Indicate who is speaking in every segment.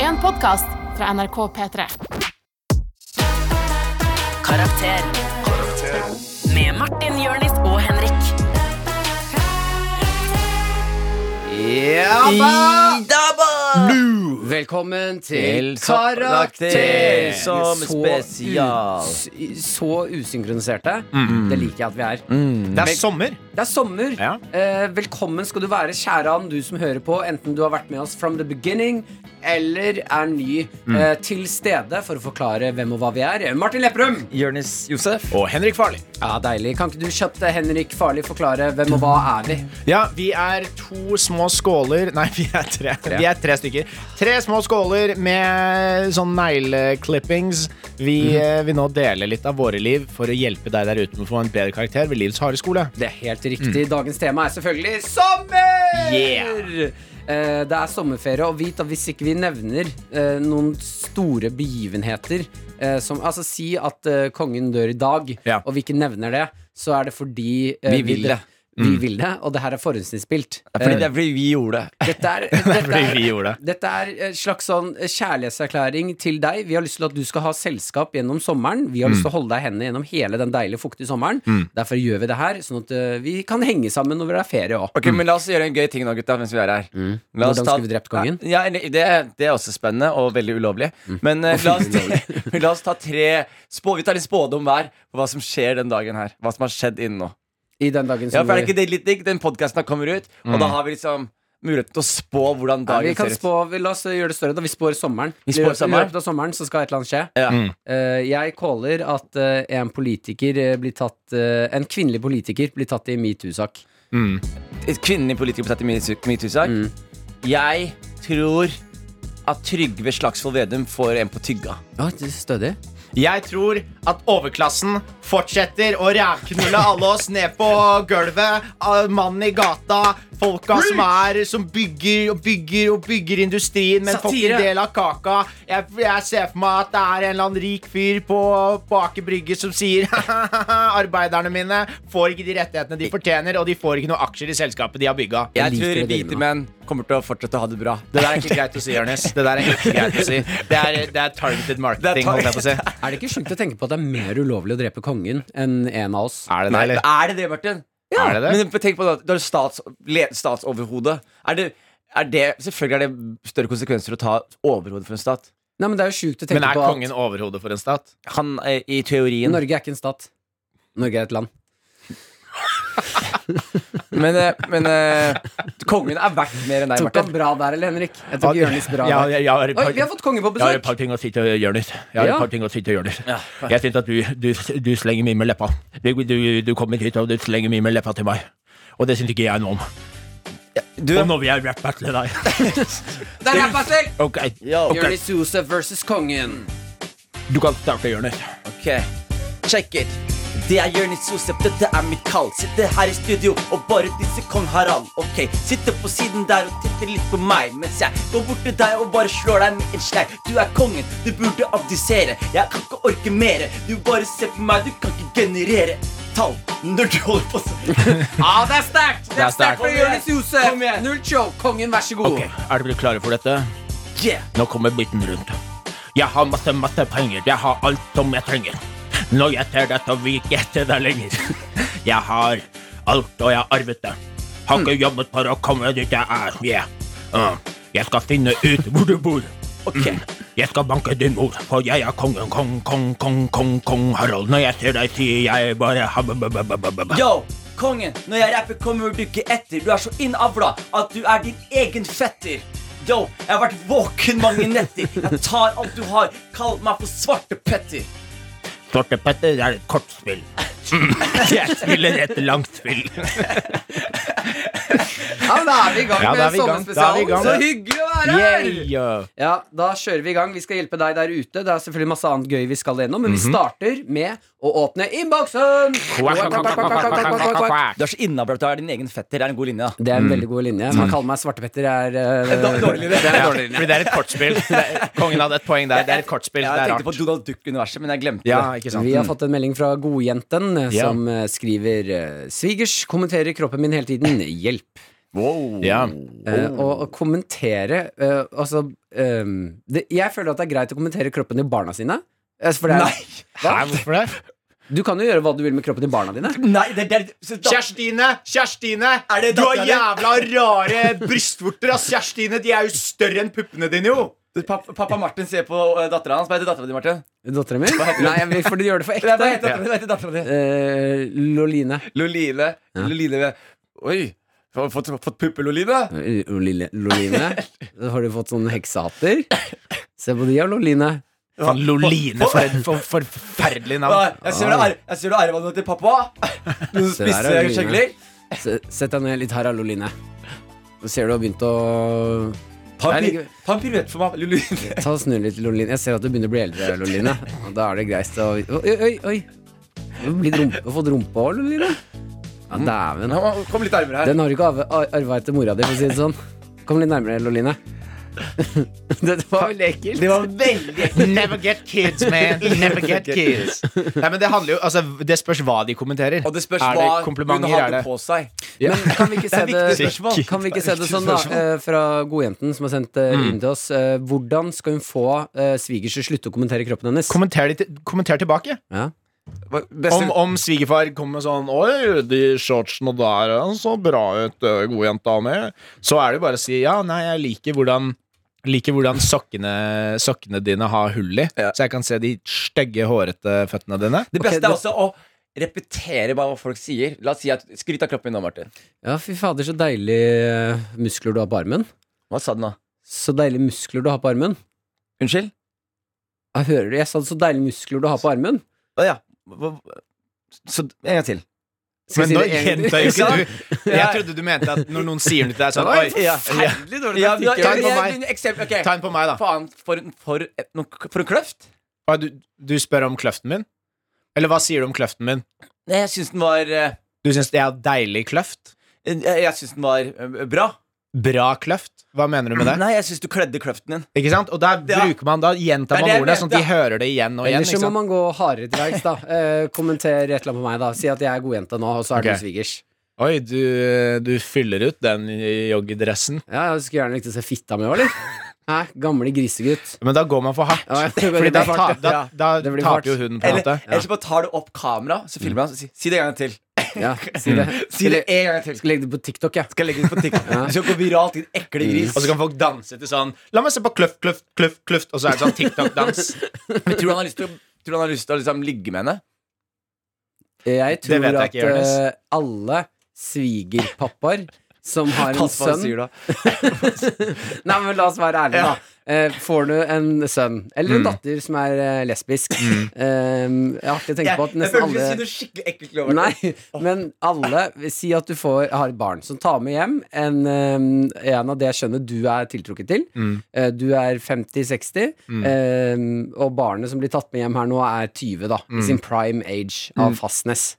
Speaker 1: en podkast fra NRK P3.
Speaker 2: Karakter. Med Martin, Jørnis og Henrik.
Speaker 3: Velkommen til
Speaker 4: Til
Speaker 3: Karakter
Speaker 4: karakter som spesial. Mm.
Speaker 3: us- så usynkroniserte. Det liker jeg at vi er.
Speaker 5: Det er sommer.
Speaker 3: Det er sommer.
Speaker 5: Ja.
Speaker 3: Eh, velkommen skal du være, kjære han, du som hører på. Enten du har vært med oss from the beginning eller er ny eh,
Speaker 4: Mm.
Speaker 3: til stede for å forklare hvem og hva vi er. Martin Lepperød!
Speaker 4: Jonis Josef.
Speaker 5: Og Henrik Farley.
Speaker 3: Ja, deilig. Kan ikke du kjapt, eh, Henrik Farli, forklare hvem og hva er vi?
Speaker 5: Ja, vi er to små skåler Nei, vi er tre. Vi er tre stykker. Tre små skåler med sånn negleklippings. Vi eh, vil nå dele litt av våre liv for å hjelpe deg der ute med å få en bedre karakter ved livets harde skole.
Speaker 3: Det er helt riktig.
Speaker 4: Mm.
Speaker 3: Dagens tema er selvfølgelig sommer!
Speaker 5: Yeah!
Speaker 3: Eh, Det er sommerferie, og vit at hvis ikke vi nevner eh, noen store begivenheter eh, som, Altså si at eh, kongen dør i dag,
Speaker 5: Ja.
Speaker 3: og vi ikke nevner det, så er det fordi eh,
Speaker 4: Vi vil det. Mm.
Speaker 3: Vi vil det, og det her er forhåndsinnspilt.
Speaker 4: Fordi
Speaker 3: Eh,
Speaker 4: det er fordi vi gjorde det.
Speaker 3: Dette er, dette
Speaker 5: Fordi
Speaker 3: er
Speaker 5: vi gjorde det.
Speaker 3: dette er en slags sånn kjærlighetserklæring til deg. Vi har lyst til at du skal ha selskap gjennom sommeren. Vi har lyst
Speaker 4: Mm.
Speaker 3: til å holde deg i hendene gjennom hele den deilige, fuktige sommeren. Derfor gjør vi det her, sånn at eh, vi kan henge sammen når det er ferie òg.
Speaker 4: Ok, men La oss gjøre en gøy ting nå, gutta. mens vi er her La oss
Speaker 3: Mm. Hvordan
Speaker 4: ta-
Speaker 3: skulle vi drept kongen? Mm.
Speaker 4: Ja, eller- det, det er også spennende og veldig ulovlig. Men eh, la, oss, men la oss ta tre spå, Vi tar litt spådom hver på hva som skjer den dagen her. Hva som har skjedd innen nå.
Speaker 3: I den dagen
Speaker 4: Ja,
Speaker 3: som
Speaker 4: for er det
Speaker 3: går.
Speaker 4: ikke det litt digg? Den podkasten kommer ut, og da har vi liksom muligheten til å spå hvordan
Speaker 3: Mm. Ja, vi
Speaker 4: dagen
Speaker 3: kan
Speaker 4: ser ut.
Speaker 3: spå, vi, La oss gjøre det større. da Vi spår sommeren.
Speaker 4: Vi spår
Speaker 3: I løpet-
Speaker 4: sommeren.
Speaker 3: I løpet av sommeren så skal et eller annet skje.
Speaker 4: Ja.
Speaker 5: Mm.
Speaker 3: Eh, jeg caller at eh, en politiker eh, blir tatt eh, En kvinnelig politiker blir tatt i metoo-sak.
Speaker 4: Et Kvinnelig politiker på 30 metoo-sak.
Speaker 3: Mm.
Speaker 4: Jeg tror at Trygve Slagsvold Vedum får en på tygga.
Speaker 3: Ja, stødig.
Speaker 5: Jeg tror at overklassen fortsetter å rævknulle alle oss ned på gulvet. ah, Mannen i gata, folka som er Som bygger og bygger og bygger industrien, men får ikke
Speaker 3: Satire.
Speaker 5: en del av kaka. Jeg, jeg ser for meg at det er en eller annen rik fyr på, på Aker Brygge som sier arbeiderne mine får ikke de rettighetene de fortjener, og de får ikke noe aksjer i selskapet de har bygga.
Speaker 4: Jeg
Speaker 3: liker
Speaker 4: tror
Speaker 3: det dere
Speaker 4: hvite
Speaker 3: nå.
Speaker 4: menn kommer til å fortsette å ha det bra.
Speaker 5: Det der er ikke greit å si, Jonis. Det der er ikke greit å si. Det er, det er targeted marketing,
Speaker 4: tar-
Speaker 5: holdt jeg på å si.
Speaker 3: Er det ikke sjukt å tenke på at det er mer ulovlig å drepe kongen enn en av oss?
Speaker 5: Er det det,
Speaker 4: Nei,
Speaker 5: eller?
Speaker 4: er det det, Martin?
Speaker 5: Ja. Er det det?
Speaker 4: Men tenk på det, det er stats, le- statsoverhodet. Er det, er det, selvfølgelig er det større konsekvenser å ta overhodet for en stat.
Speaker 3: Nei, men det er jo sjukt å
Speaker 5: Men
Speaker 3: tenke
Speaker 5: er
Speaker 3: på
Speaker 5: kongen overhodet for en stat?
Speaker 4: Han eh, i
Speaker 3: at
Speaker 4: teorien.
Speaker 3: Norge er ikke en stat. Norge er et land.
Speaker 4: Men, eh, men eh, kongen er verdt mer enn deg,
Speaker 3: Tok han
Speaker 4: Martin.
Speaker 3: bra der, eller, Henrik? Jeg tok Jonis bra
Speaker 5: Ja,
Speaker 3: der.
Speaker 5: jeg- jeg har et par-
Speaker 3: Oi, vi har fått kongen på
Speaker 5: Jeg har et
Speaker 3: besøk!
Speaker 5: par ting å si til Jonis. Jeg har
Speaker 3: Ja.
Speaker 5: et par ting å si til Jonis. Jeg syns at du, du, du slenger mye med leppa. Du, du, du kommer hit og du slenger mye med leppa til meg. Og det syns ikke jeg noe om.
Speaker 4: Du,
Speaker 5: Og nå vil jeg rappe-battle deg.
Speaker 3: Der er Pastel!
Speaker 5: Ok,
Speaker 4: Yo.
Speaker 5: ok.
Speaker 3: Jonis Josef versus kongen.
Speaker 5: Du kan starte, Jonis.
Speaker 4: Ok, check it Det er Jørnis Josef, dette er mitt kall Sitter her i studio og bare disse kong Harald Ok, sitter på siden der og titter litt på meg Mens jeg går bort til deg og bare slår deg med en slei Du er kongen, du burde abdisere Jeg kan ikke orke mere Du bare ser på meg, du kan ikke generere Tall, når du holder på sånn
Speaker 3: Ja, det er sterkt! Det er sterkt for
Speaker 4: Kom igjen.
Speaker 3: Jonis Josef!
Speaker 4: Kom igjen.
Speaker 3: Null show. Kongen, vær så god.
Speaker 5: Ok, Er dere klare for dette?
Speaker 4: Yeah
Speaker 5: Nå kommer biten rundt. Jeg har masse, masse penger. Jeg har alt som jeg trenger. Når jeg ser deg, så vil ikke jeg se deg lenger. Jeg har alt, og jeg har arvet det. Har ikke jobbet for å komme dit jeg er. Yeah. Uh, Jeg skal finne ut hvor du bor.
Speaker 4: Ok.
Speaker 5: Mm. Jeg skal banke din mor, for jeg er kongen, kong, kong, kong, kong, kong Harald. Når jeg ser deg, sier jeg bare ha, ba, ba, ba, ba, ba, ba.
Speaker 4: Yo, kongen, når jeg rapper kommer du ikke etter Du er så innavla at du er din egen fetter Yo, jeg har vært våken mange netter Jeg tar alt du har Kall meg for svarte petter
Speaker 5: Svarte Petter er et kortspill. Mm. Jeg spiller et langt spill.
Speaker 3: Ja, men da er vi i gang
Speaker 5: Ja, da
Speaker 3: med
Speaker 5: er vi i gang. Da er vi i
Speaker 3: sommerspesialen.
Speaker 5: gang.
Speaker 3: Så hyggelig å være her! Ja, da kjører vi i gang. Vi skal hjelpe deg der ute. Det er selvfølgelig masse annet gøy vi skal gjennom, men vi starter med å åpne innboksen! Mhm. Quack, quack, quack, quack, quack, quack, quack, quack. Mm.
Speaker 4: Du er så innavla at du er din egen fetter Det er en god linje da
Speaker 3: Det er en veldig god linje. Man kaller meg Svartepetter er eh,
Speaker 4: Dårlig
Speaker 3: det
Speaker 4: linje
Speaker 3: er en dårlig linje.
Speaker 5: Fordi det er et kortspill. Det er- Kongen hadde et poeng der. Det er et kortspill. Det
Speaker 4: Jeg
Speaker 5: er
Speaker 4: tenkte på
Speaker 5: rart.
Speaker 4: Donald Duck-universet, men jeg glemte
Speaker 5: Ja,
Speaker 4: det
Speaker 5: ikke sant.
Speaker 3: Vi har fått en melding fra Godjenten eh,
Speaker 5: Ja.
Speaker 3: som eh, skriver eh, Svigers kommenterer kroppen min hele tiden. Hjelp.
Speaker 6: Wow.
Speaker 5: Ja.
Speaker 3: Eh, og, og kommentere eh, Altså ehm, det, Jeg føler at det er greit å kommentere kroppen til barna sine. Eh, For det er,
Speaker 6: Hæ, hvorfor det?
Speaker 3: Du kan jo gjøre hva du vil med kroppen til barna dine.
Speaker 4: Nei, det, det, så da,
Speaker 6: Kjerstine! Kjerstine!
Speaker 4: Er det
Speaker 6: du har
Speaker 4: datteren din?
Speaker 6: jævla rare brystvorter, ass! Kjerstine, de er jo større enn puppene dine, jo!
Speaker 4: pappa, pappa Martin ser på uh, dattera hans. Hva heter dattera di, Martin?
Speaker 3: Dattera mi? Nei, jeg vil for du gjør det for
Speaker 4: Nei, Hva heter
Speaker 3: ekte.
Speaker 4: datteren din? Hva heter datteren din?
Speaker 3: Eh, Loline.
Speaker 6: Loline. Loline Oi! Har du fått, fått pupper, Loline?
Speaker 3: Eh, Loline. Loline. Har du fått sånne heksehatter? Se på de, ja, Loline.
Speaker 5: Faen, Sånn Loline, for et for, for forferdelig
Speaker 4: Ah,
Speaker 5: navn.
Speaker 4: Jeg ser du har ar- jeg ser du har arva noe til pappa. Noen
Speaker 3: Se der,
Speaker 4: spisse
Speaker 3: Adeline.
Speaker 4: kjegler.
Speaker 3: Se, sett deg ned litt her, da, Loline. Nå ser du har begynt å
Speaker 4: Ta
Speaker 3: Jeg
Speaker 4: en pir-
Speaker 3: liker-
Speaker 4: ta en piruett for meg. Loline.
Speaker 3: Ta og Snu litt, Loline. Jeg ser at du begynner å bli eldre, Loline. Og da er det greit å Oi, oi, oi. Du har blitt rumpe- fått rumpehår, Loline. Ja, dæven.
Speaker 6: Mm. Kom litt nærmere her.
Speaker 3: Den har du ikke arva etter mora di, for å si det sånn. Kom litt nærmere, Loline. Dette var vel ekkelt.
Speaker 4: Det var veldig
Speaker 5: Never get kids, man. Never get kids. Nei, men Det handler jo, altså, det spørs hva de kommenterer.
Speaker 4: Og det spørs
Speaker 5: er
Speaker 4: hva
Speaker 5: det
Speaker 4: hun
Speaker 5: komplimenter? Er
Speaker 4: hadde
Speaker 5: det
Speaker 4: på seg.
Speaker 3: Men kan vi ikke se
Speaker 4: Det er
Speaker 3: det,
Speaker 4: viktig spørsmål.
Speaker 3: kan vi ikke se det sånn, da, eh, fra godjenten som har sendt eh, inn til oss. eh, Hvordan skal hun få eh, svigers til å slutte å kommentere kroppen hennes?
Speaker 5: Kommenter, de, kommenter tilbake.
Speaker 3: Ja.
Speaker 6: Beste,
Speaker 5: Om, om svigerfar kommer med sånn Oi, de shortsene der ja, så bra ut, ø, god jenta med. Så er det jo bare å si ja, nei, jeg liker hvordan Liker hvordan sokkene, sokkene dine har hull i,
Speaker 6: Ja.
Speaker 5: så jeg kan se de stygge, hårete føttene dine.
Speaker 4: Det beste
Speaker 3: Ok, det-
Speaker 4: er også å repetere bare hva folk sier. La oss si at Skryt av kroppen din nå, Martin.
Speaker 3: ja, fy fader, så deilig eh, muskler du har på armen.
Speaker 4: Hva sa du nå?
Speaker 3: Så deilig muskler du har på armen.
Speaker 4: Unnskyld?
Speaker 3: Jeg hører det, jeg sa så deilig muskler du har på armen.
Speaker 4: Å ja. Hva- hva- Så en gang til.
Speaker 3: Skal
Speaker 5: Men nå
Speaker 3: jeg si det en gang
Speaker 5: gjentar
Speaker 3: til?
Speaker 5: jo ikke du Jeg trodde du mente at når noen sier noe til deg sånn Oi,
Speaker 3: Ja.
Speaker 4: Ja, men da-
Speaker 5: Ta en på
Speaker 4: jeg-
Speaker 5: meg.
Speaker 4: begynner- eksempel, ok.
Speaker 5: ta en på meg, da.
Speaker 4: Faen, for, en- for, et- noen- for en kløft.
Speaker 5: Hva, Du, du spør om kløften min? Eller hva sier du om kløften min?
Speaker 4: Nei, Jeg syns den var eh,
Speaker 5: Du syns jeg har deilig kløft?
Speaker 4: Jeg, jeg syns den var eh, bra.
Speaker 5: Bra kløft? Hva mener du med det?
Speaker 4: Nei, jeg syns du kledde kløften din.
Speaker 5: Ikke sant? Og der
Speaker 4: Ja.
Speaker 5: bruker man, da gjentar
Speaker 4: Det er
Speaker 5: man
Speaker 4: det jeg
Speaker 5: ordene, sånn at de
Speaker 4: mente.
Speaker 5: hører det igjen og igjen.
Speaker 3: Ellers så
Speaker 5: Ikke
Speaker 3: må
Speaker 5: sant?
Speaker 3: man gå hardere til verks, da. Eh, kommenter et eller annet på meg, da. Si at jeg er godjenta nå, og så er
Speaker 5: Ok.
Speaker 3: du svigers.
Speaker 5: Oi, du, du fyller ut den joggedressen.
Speaker 3: Ja, jeg skulle gjerne likt å se fitta mi òg, eller? Hæ, gamle grisegutt.
Speaker 5: Men da går man for hardt.
Speaker 3: Ja, jeg tror det
Speaker 5: Fordi
Speaker 3: blir
Speaker 5: da, ta,
Speaker 3: hardt,
Speaker 5: da,
Speaker 3: ja.
Speaker 5: da
Speaker 3: Det blir hardt.
Speaker 5: taper jo hun, på en
Speaker 4: Eller,
Speaker 5: måte.
Speaker 4: eller så bare tar du opp kamera, så filmer han, så si, si det en gang til.
Speaker 3: Ja, si det.
Speaker 4: Si det en gang til.
Speaker 3: Skal legge det på TikTok, ja.
Speaker 4: Skal legge det på TikTok. Du skal gå viralt, din ekle gris.
Speaker 5: Og så kan folk danse til sånn La meg se på kløft, kløft, kløft, kløft, og så er det sånn TikTok-dans.
Speaker 4: Men tror du han har lyst til å, tror du han har lyst til å liksom ligge med henne?
Speaker 3: Jeg
Speaker 5: Det
Speaker 3: tror
Speaker 5: vet jeg
Speaker 3: at
Speaker 5: ikke, Jonis.
Speaker 3: eh, alle svigerpappaer som har en
Speaker 4: Pass på hva du
Speaker 3: sønn
Speaker 4: sier da.
Speaker 3: Nei, men la oss være ærlige, da. Eh, får du en sønn, eller
Speaker 4: Mm.
Speaker 3: en datter som er eh, lesbisk eh, Jeg har ikke tenkt på at
Speaker 4: jeg
Speaker 3: nesten
Speaker 4: føler du
Speaker 3: alle
Speaker 4: sier noe skikkelig ekkelt. Lover.
Speaker 3: Nei, men alle Si at du får, har et barn som tar med hjem en, eh, en av det skjønnet du er tiltrukket til. Eh, Du er 50-60, eh, og barnet som blir tatt med hjem her nå, er 20, da. I sin prime age av fastness.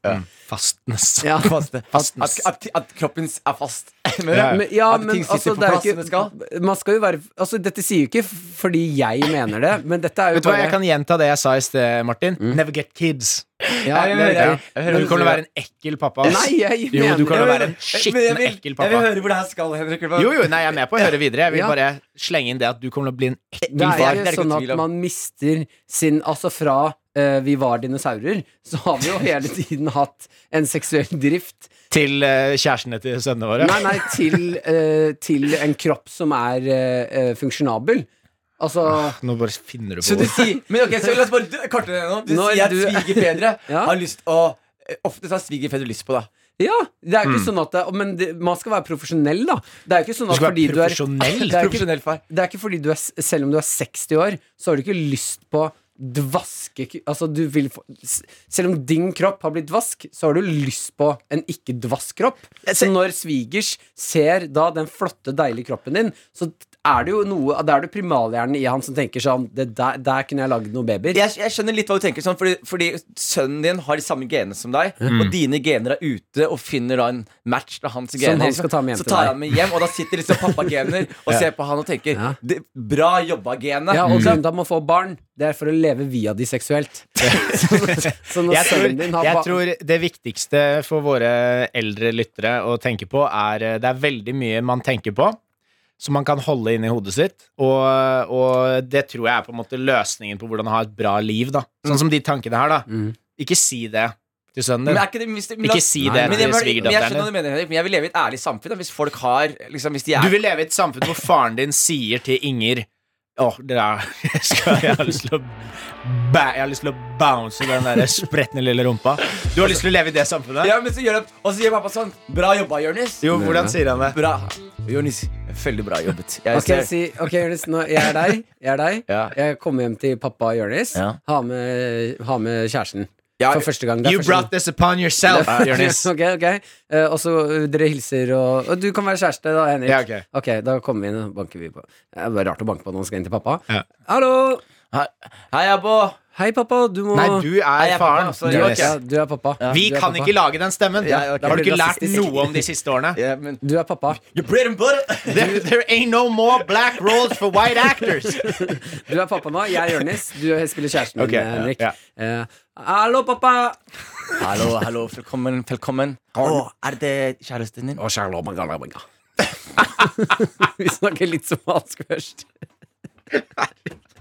Speaker 5: Fastness.
Speaker 3: Ja.
Speaker 4: Faste. At, at, at kroppen er fast. Men,
Speaker 5: Ja,
Speaker 3: Men, ja,
Speaker 4: At ting
Speaker 3: men
Speaker 4: sitter
Speaker 3: altså,
Speaker 4: på
Speaker 3: det er
Speaker 4: plass
Speaker 3: jo
Speaker 4: som det
Speaker 3: ikke Man skal jo være Altså, dette sier jo ikke fordi jeg mener det, men dette er jo
Speaker 5: Vet du hva, Jeg kan gjenta det jeg sa i sted, Martin.
Speaker 4: Mm.
Speaker 5: Never get kids.
Speaker 3: ja,
Speaker 4: Jeg
Speaker 3: det er
Speaker 4: hører-
Speaker 3: riktig.
Speaker 4: jeg hører
Speaker 5: Men
Speaker 4: hva
Speaker 5: du kommer til
Speaker 4: sier.
Speaker 5: å være en ekkel pappa. ass.
Speaker 3: Nei, jeg
Speaker 5: Jo,
Speaker 3: mener
Speaker 5: du kan jo være en
Speaker 4: Jeg- men jeg
Speaker 5: skitten
Speaker 4: vil-
Speaker 5: ekkel
Speaker 4: Jeg vil
Speaker 5: pappa.
Speaker 4: høre hvor det her skal, Henrik.
Speaker 5: Jo, jo, nei, jeg er med på å høre videre. Jeg vil
Speaker 3: Ja.
Speaker 5: bare slenge inn det at du kommer til å bli en ekkel
Speaker 3: Det
Speaker 5: far.
Speaker 3: er
Speaker 4: det er
Speaker 3: jo
Speaker 4: ikke
Speaker 3: sånn
Speaker 4: noe
Speaker 3: at
Speaker 4: tvil om.
Speaker 3: man mister sin Altså fra eh, vi var dinosaurer, så har vi jo hele tiden hatt en seksuell drift.
Speaker 5: Til eh, kjærestene til sønnene våre.
Speaker 3: Nei, nei, til, eh, til en kropp som er eh, eh, funksjonabel. Altså
Speaker 5: Nå bare finner du
Speaker 4: Så
Speaker 5: på
Speaker 4: du
Speaker 5: ord.
Speaker 4: sier Men ok, så la oss bare d- karte det nå. Du
Speaker 3: Når
Speaker 4: sier at
Speaker 3: du-
Speaker 4: svigerfedre
Speaker 3: Ja.
Speaker 4: har lyst å Ofte har svigerfedre lyst på deg.
Speaker 3: Ja! Det er jo ikke sånn at det, Men det, man skal være profesjonell, da. Det er jo ikke sånn
Speaker 5: Mm. Du
Speaker 3: at
Speaker 5: skal
Speaker 3: fordi
Speaker 5: være
Speaker 3: du er det er
Speaker 5: profesjonell.
Speaker 3: jo ikke,
Speaker 4: Profesjonell far.
Speaker 3: det er ikke fordi du er s- Selv om du er 60 år, så har du ikke lyst på dvaske Altså, du vil få s- Selv om din kropp har blitt dvask, så har du lyst på en ikke-dvask kropp. Så når svigers ser da den flotte, deilige kroppen din, så er det jo noe Da er det primalhjernen i han som tenker sånn det der, der kunne jeg lagd noen babyer.
Speaker 4: jeg, jeg skjønner litt hva du tenker sånn, fordi, fordi sønnen din har de samme genene som deg, og dine gener er ute og finner da en match til hans gener.
Speaker 3: han skal ta med hjem
Speaker 4: så
Speaker 3: til
Speaker 4: tar
Speaker 3: deg.
Speaker 4: han med hjem, og da sitter liksom pappa-gener og ser på han og tenker
Speaker 3: Ja.
Speaker 4: «Det- Bra jobba, genet.
Speaker 3: Ja,
Speaker 7: Mm.
Speaker 3: og sånn, grunnen til at man får barn, det er for å leve via de seksuelt. Så, så når
Speaker 7: Jeg tror,
Speaker 3: sønnen din har
Speaker 7: jeg
Speaker 3: ba-
Speaker 7: tror det viktigste for våre eldre lyttere å tenke på er eh, Det er veldig mye man tenker på som man kan holde inni hodet sitt. Og, og det tror jeg er på en måte løsningen på hvordan ha et bra liv. da
Speaker 3: Mm.
Speaker 7: Sånn som de tankene her. da Ikke si det til sønnen
Speaker 4: Men
Speaker 7: din.
Speaker 4: er ikke det, hvis det, men
Speaker 7: Ikke
Speaker 4: la-
Speaker 7: si
Speaker 4: Nei,
Speaker 7: det
Speaker 4: men jeg- men jeg- men
Speaker 7: til
Speaker 4: Jeg
Speaker 7: svigerdatteren
Speaker 4: skjønner hva du mener, Henrik, men jeg vil leve i et ærlig samfunn. Da, hvis folk har liksom, hvis de er,
Speaker 7: Du vil leve i et samfunn hvor faren din sier til Inger Åh, det der jeg, skal, jeg har lyst til å ba, Jeg har lyst til å bounce i den der spretne lille rumpa. Du har lyst til å leve i det samfunnet?
Speaker 4: ja, men så gjør det, Og så gjør pappa sånn. Bra jobba, Jonis.
Speaker 7: Jo, hvordan sier han det?
Speaker 4: Bra. Jonis, veldig bra jobbet. Jeg
Speaker 3: Ok,
Speaker 4: ser-
Speaker 3: si, ok, Jonis, nå, jeg er deg. Jeg er deg
Speaker 4: Ja.
Speaker 3: Jeg kommer hjem til pappa Jonis.
Speaker 4: Ja.
Speaker 3: Ha, med, ha med kjæresten.
Speaker 4: Ja,
Speaker 3: For første gang. det er
Speaker 7: You
Speaker 3: første
Speaker 7: brought this upon yourself, Jonis.
Speaker 3: Ok, ok Eh, Og så eh, dere hilser og, og du kan være kjæreste da, Henrik
Speaker 7: Ja, ok.
Speaker 3: da kommer vi inn og banker vi på Det er bare rart å banke på når man skal inn til pappa
Speaker 7: Ja.
Speaker 3: Hallo,
Speaker 4: Hei, hei abbo.
Speaker 3: hei pappa, du må
Speaker 7: Nei, du
Speaker 4: Nei, jeg
Speaker 7: er
Speaker 4: er
Speaker 7: faren.
Speaker 4: pappa, sorry,
Speaker 3: du, er,
Speaker 7: Jonis.
Speaker 3: ja, du er pappa
Speaker 7: Vi
Speaker 3: du er
Speaker 7: kan
Speaker 3: pappa.
Speaker 7: ikke lage den stemmen.
Speaker 4: Ja, ok.
Speaker 7: Har du ikke lært
Speaker 3: Rasistisk.
Speaker 7: noe om de siste årene?
Speaker 4: Ja, men
Speaker 3: Du er pappa
Speaker 4: Your bread and butter.
Speaker 7: There, there ain't no more black roles for white actors.
Speaker 3: Du er pappa nå, jeg er Jørnis Du spiller kjæresten
Speaker 7: Ok,
Speaker 3: min,
Speaker 7: ja,
Speaker 3: Henrik
Speaker 7: ja.
Speaker 3: Eh, Hallo pappa
Speaker 4: Hallo, hallo, velkommen, velkommen. Å, er det kjæresten din?
Speaker 3: Å, kjærlo, manga, manga. Vi snakker litt somalisk først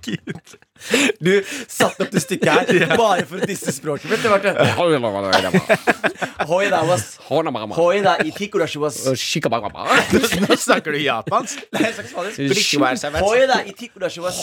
Speaker 4: Du satte opp det stykket her bare for å disse språket mitt. Det ble hoi da, was. Hoi da, itikurashi was.
Speaker 7: Nå snakker du japansk.
Speaker 4: Hoi da, itikurashi was.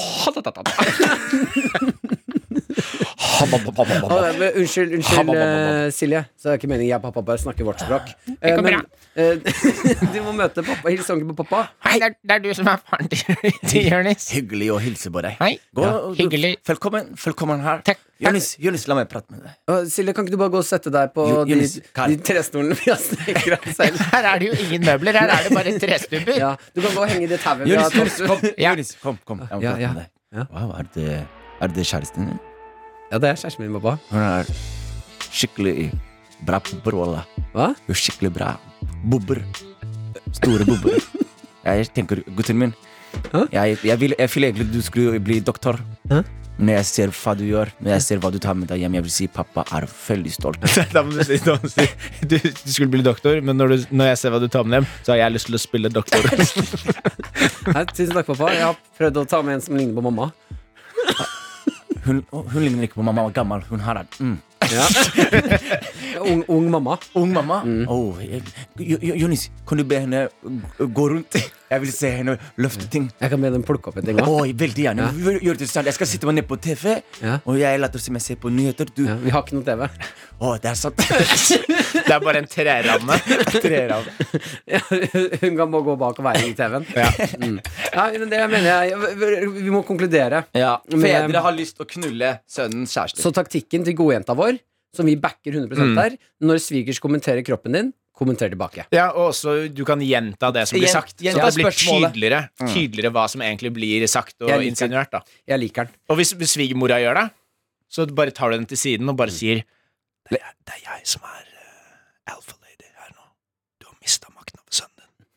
Speaker 3: Å, nei, men unnskyld, unnskyld eh, Silje. Så er det ikke meningen jeg og pappa bare snakker vårt språk. Eh, men eh, du må møte pappa. Hils ordentlig på pappa.
Speaker 7: Hei, det er, du som er faren til, til Jonis.
Speaker 4: Hyggelig å hilse på deg.
Speaker 7: Hei.
Speaker 4: Gå,
Speaker 7: Ja,
Speaker 4: og-
Speaker 7: hyggelig.
Speaker 4: Velkommen, velkommen her.
Speaker 7: Takk.
Speaker 4: Jonis, Jonis, la meg prate med deg.
Speaker 3: Å, Silje, kan ikke du bare gå og sette deg på
Speaker 4: Jo,
Speaker 3: de,
Speaker 4: Jonas, Kar-
Speaker 3: de trestolene vi har snekra selv?
Speaker 7: Her er det jo ingen møbler, her er det bare trestubber.
Speaker 3: Ja, du kan gå og henge i det tauet vi har
Speaker 4: Jonis,
Speaker 3: tatt
Speaker 4: Jonis,
Speaker 3: ut.
Speaker 4: kom.
Speaker 7: Ja.
Speaker 4: Jonis, kom, kom. Jeg må
Speaker 3: Ja,
Speaker 4: prate
Speaker 3: ja.
Speaker 4: med deg.
Speaker 3: Ja.
Speaker 4: Wow, er det, er det kjæresten din?
Speaker 3: Ja, det er kjæresten min, pappa.
Speaker 4: Hun er skikkelig bra på brolla.
Speaker 3: Hva?
Speaker 4: Hun er skikkelig bra. Bobber. Store bobber. Jeg tenker, gutten min
Speaker 3: Hæ?
Speaker 4: jeg, jeg, vil, jeg vil egentlig du skulle bli doktor.
Speaker 3: Hæ?
Speaker 4: Når jeg ser hva du gjør, når jeg ser hva du tar med deg hjem, jeg vil si pappa er veldig stolt.
Speaker 7: Da må du si, da må du, si du, du skulle bli doktor, men når, du, når jeg ser hva du tar med dem, så har jeg lyst til å spille doktor.
Speaker 3: Nei, tusen takk, pappa. Jeg har prøvd å ta med en som ligner på mamma.
Speaker 4: Hun, å, hun ligner ikke på mamma, hun er gammel. Hun har det. Mm.
Speaker 3: Ja. ung, ung mamma.
Speaker 4: Ung mamma.
Speaker 3: Mm.
Speaker 4: Åh, jeg, Jo- Jo- Jonis, kan du be henne gå rundt? Jeg vil se henne løfte ting.
Speaker 3: Jeg kan be dem plukke opp en ting. også.
Speaker 4: Oi, veldig gjerne. Gjør- Gjør det sant. Jeg skal sitte meg ned på TV,
Speaker 3: Ja.
Speaker 4: og jeg later som jeg ser på nyheter. Du,
Speaker 3: Ja, vi har ikke noe TV.
Speaker 4: å, det er sant.
Speaker 7: Det er bare en treramme. treramme.
Speaker 3: Ja, Hun kan bare gå bak og være i TV-en. Ja. Mm. ja, men det mener jeg. Vi- Vi må konkludere.
Speaker 4: ja. eh,
Speaker 3: Men-
Speaker 6: Fedre har lyst til å knulle sønnens kjæreste.
Speaker 3: Så taktikken til godjenta vår, som vi backer 100 der, når svigers kommenterer kroppen din, kommenter tilbake.
Speaker 7: Ja, og også du kan gjenta det som blir
Speaker 4: Gjen-
Speaker 7: sagt. Så
Speaker 4: gjenta
Speaker 7: det blir
Speaker 4: spørsmålet.
Speaker 7: tydeligere, tydeligere hva som egentlig blir sagt og
Speaker 3: Jeg liker den.
Speaker 7: insinuert. da
Speaker 3: Jeg liker den.
Speaker 7: Og hvis hvis svigermora gjør det, så bare tar du den til siden og bare sier Det er, det er jeg som er eh, alpha lady her nå. Du har mista makten over sønnen din.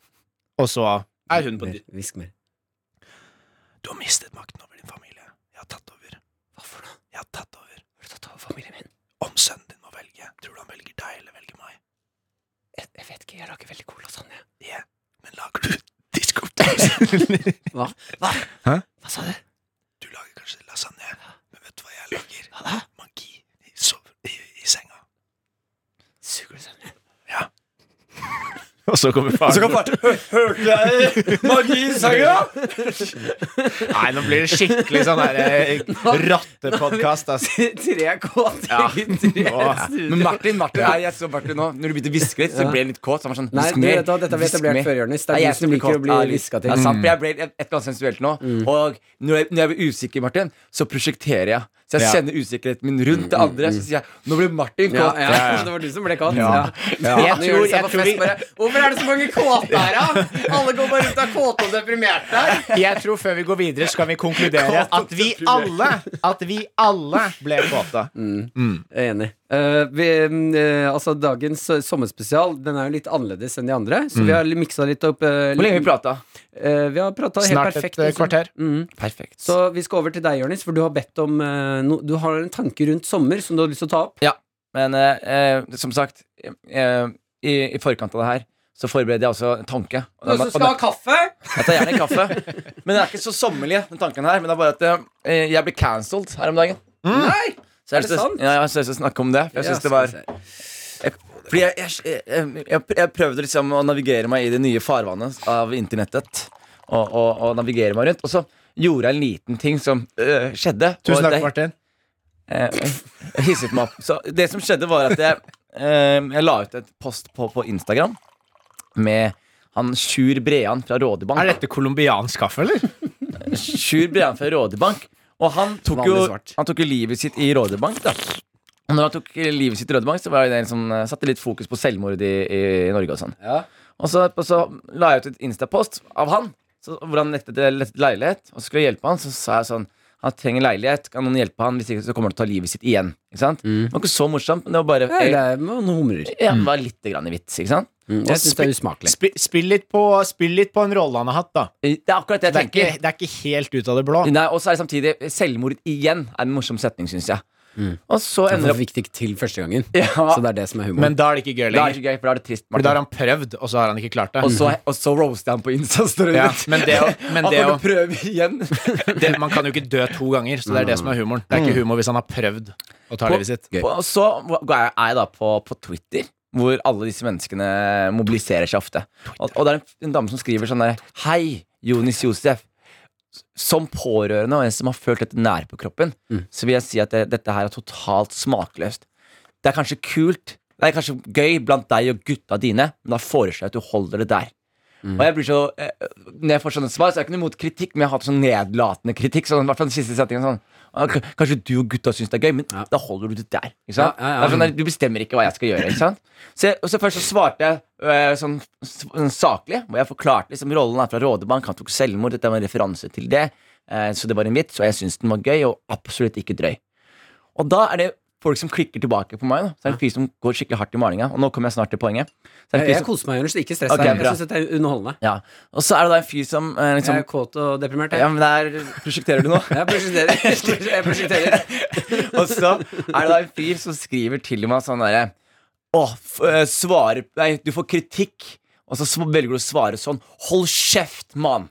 Speaker 7: Og så er hun på
Speaker 3: Mer,
Speaker 7: di-
Speaker 3: Hvisk mer.
Speaker 7: Du har mistet makten over din familie. Jeg har tatt over. Hva for noe? Jeg har tatt over.
Speaker 3: Har du tatt over familien min?
Speaker 7: Om sønnen din må velge, tror du han velger deg eller velger meg?
Speaker 3: Jeg, jeg vet ikke, jeg lager veldig god lasagne.
Speaker 7: Yeah. Men lager du diskopose?
Speaker 3: Hva? Hva? Hva sa du?
Speaker 7: du lager kanskje lasagne, men vet du hva jeg lager? Magi i, sove, i, i senga.
Speaker 3: Suger du sønnen min?
Speaker 7: Og så kommer faren.
Speaker 4: Magi i senga!
Speaker 7: Nei, nå blir det skikkelig sånn der eh, altså. rottepodkast, ass.
Speaker 3: 3K
Speaker 7: Ja.
Speaker 3: til
Speaker 7: Åh.
Speaker 4: Men Martin, Martin, nei, jeg så Martin nå. Når du begynte å hviske litt, så ble jeg litt kåt. Så han var sånn,
Speaker 3: Nei,
Speaker 4: hvisk
Speaker 3: du
Speaker 4: mer,
Speaker 3: vet hva, dette har vi
Speaker 4: hvisk
Speaker 3: etablert
Speaker 4: mer.
Speaker 3: før, Jonis. Det
Speaker 4: Nei,
Speaker 3: er
Speaker 4: jeg
Speaker 3: du som liker
Speaker 4: kåt.
Speaker 3: å
Speaker 4: Ja,
Speaker 3: bli hviska til. Mm.
Speaker 4: Det er sant, for jeg ble et, et eller annet sensuelt nå. Og når jeg, når jeg blir usikker, Martin, så prosjekterer jeg. Så jeg
Speaker 7: Ja.
Speaker 4: sender usikkerheten min rundt til andre. Så sier jeg nå blir Martin
Speaker 3: Mm, Ja,
Speaker 4: kåt.
Speaker 3: ja. Så det var du som ble kåt? Ja.
Speaker 7: Ja.
Speaker 3: Nå gjør de seg på fest, bare, Hvorfor er
Speaker 6: er det så mange kåte her, da? Alle går bare rundt og er kåte og deprimerte.
Speaker 7: Jeg tror før vi går videre, så kan vi konkludere at vi alle At vi alle ble kåte.
Speaker 3: Jeg er enig. Eh, vi, mm, eh, altså Dagens eh, sommerspesial Den er jo litt annerledes enn de andre, så vi har miksa litt opp. eh,
Speaker 4: Hvor lenge
Speaker 3: litt-
Speaker 4: vi prata?
Speaker 3: Eh, vi har prata helt
Speaker 7: Snart
Speaker 3: perfekt.
Speaker 7: et eh,
Speaker 3: liksom.
Speaker 7: kvarter.
Speaker 3: Mm.
Speaker 4: Perfekt.
Speaker 3: Så vi skal over til deg, Jonis, for du har bedt om eh, no, Du har en tanke rundt sommer som du har lyst til å ta opp.
Speaker 4: Men eh, eh, som sagt, eh, i, i forkant av det her så forbereder jeg også en tanke. Og den- og den-
Speaker 3: kaffe?
Speaker 4: Jeg tar gjerne kaffe. Men det er ikke så sommerlig, den tanken her. Men det er bare at eh, jeg ble cancelled her om dagen.
Speaker 3: Nei!
Speaker 4: Så
Speaker 3: Er
Speaker 4: jeg har
Speaker 3: det
Speaker 4: lyst til-
Speaker 3: sant?
Speaker 4: Ja, jeg har lyst til å snakke om det. For jeg synes det var Fordi jeg, jeg, jeg, jeg, jeg prøvde liksom å navigere meg i det nye farvannet av internettet. Og, og, og navigere meg rundt. Og så gjorde jeg en liten ting som øh, skjedde.
Speaker 7: Tusen
Speaker 4: og
Speaker 7: takk,
Speaker 4: det-
Speaker 7: Martin.
Speaker 4: eh, Jeg hisset meg opp. Så det som skjedde, var at jeg, eh, jeg la ut et post på, på Instagram med han Sjur Brean fra Rådebank.
Speaker 7: Er dette colombiansk kaffe, eller?
Speaker 4: Sjur Brean fra Rådebank. Og han tok, jo,
Speaker 3: Vanlig svart.
Speaker 4: han tok jo livet sitt i Rådebank, da. Og når han tok livet sitt i Rådebank, så var det en som eh, satte litt fokus på selvmord i, i, i Norge og sånn. Og så, og så la jeg ut et Insta-post av han, så, hvor han lette etter lette etter leilighet. Og så skulle jeg hjelpe han, så sa jeg sånn han trenger leilighet, kan noen hjelpe han? Hvis ikke så kommer han til å ta livet sitt igjen. Ikke sant? Det var ikke så morsomt, men Mm. det Mm. var bare
Speaker 3: Nei, det er man humrer.
Speaker 4: ja, det var litt grann i vits, ikke sant?
Speaker 3: Mm, jeg syns det er usmakelig.
Speaker 7: Spill, spill, litt på, spill litt på en rolle han har hatt, da.
Speaker 4: Det er akkurat det jeg
Speaker 7: Det er, ikke,
Speaker 4: tenker.
Speaker 7: det er ikke helt ut av det blå.
Speaker 4: Nei, Og så er det samtidig selvmord igjen er en morsom setning, syns jeg. Og så
Speaker 3: Det var
Speaker 4: ender Mm. det
Speaker 3: for viktig til første gangen.
Speaker 4: Ja.
Speaker 3: Så det er det som er humoren.
Speaker 7: Men da er det ikke gøy
Speaker 4: Da er det
Speaker 7: lenger.
Speaker 4: ikke gøy, for da er det trist.
Speaker 7: For da har
Speaker 4: Martin.
Speaker 7: han prøvd, og så har han ikke klart det.
Speaker 4: Og så, og så roaster han på Insta-storyen.
Speaker 7: Ja, men det å- men
Speaker 4: han
Speaker 7: det
Speaker 4: får
Speaker 7: å-
Speaker 4: du prøve igjen.
Speaker 7: det, man kan jo ikke dø to ganger, så det er det som er humoren. Det er ikke humor hvis han har prøvd å ta livet sitt.
Speaker 3: Gøy.
Speaker 4: Og så er jeg da på, på Twitter, hvor alle disse menneskene mobiliserer seg ofte. Og, og det er en, en dame som skriver sånn der Hei, Jonis Josef. Som pårørende og en som har følt dette nær på kroppen, så vil jeg si at det, dette her er totalt smakløst. Det er kanskje kult, det er kanskje gøy blant deg og gutta dine, men da foreslår jeg at du holder det der.
Speaker 3: Mm.
Speaker 4: Og jeg blir så eh, Når jeg får sånne svar, så er jeg ikke noe imot kritikk, men jeg har hatt sånn nedlatende kritikk. Sånn, i hvert fall den siste setningen sånn «Ah, k- Kanskje du og gutta syns det er gøy, men da holder du det der. Ikke
Speaker 3: Ja,
Speaker 4: sant?
Speaker 3: ja, ja.
Speaker 4: Det er sånn der, du bestemmer ikke hva jeg skal gjøre. Ikke sant? Så, jeg- og så Først så svarte jeg eh, sånn, s- sånn saklig, hvor jeg forklarte liksom rollen er fra Rådebank, han tok selvmord, dette var en referanse til det. Eh, så det var en vits, og jeg syns den var gøy, og absolutt ikke drøy. Og da er det folk som klikker tilbake på meg. Da. Så er det en fyr som går skikkelig hardt i malinga. Og nå kommer jeg snart til poenget. Så er det en
Speaker 3: Jeg,
Speaker 4: fyr
Speaker 3: jeg
Speaker 4: som,
Speaker 3: koser meg, Jonis. Ikke stress
Speaker 4: Ok,
Speaker 3: deg. Jeg
Speaker 4: bra.
Speaker 3: syns dette er underholdende.
Speaker 4: ja. Og så er det da en fyr som eh, liksom
Speaker 3: Jeg er kåt og deprimert.
Speaker 4: Ja,
Speaker 3: Jeg,
Speaker 4: men der prosjekterer du nå.
Speaker 3: jeg prosjekterer. Jeg prosjekterer.
Speaker 4: og så er det da en fyr som skriver til meg sånn derre Å, f- eh, svarer Nei, du får kritikk, og så sv- velger du å svare sånn. Hold kjeft, mann!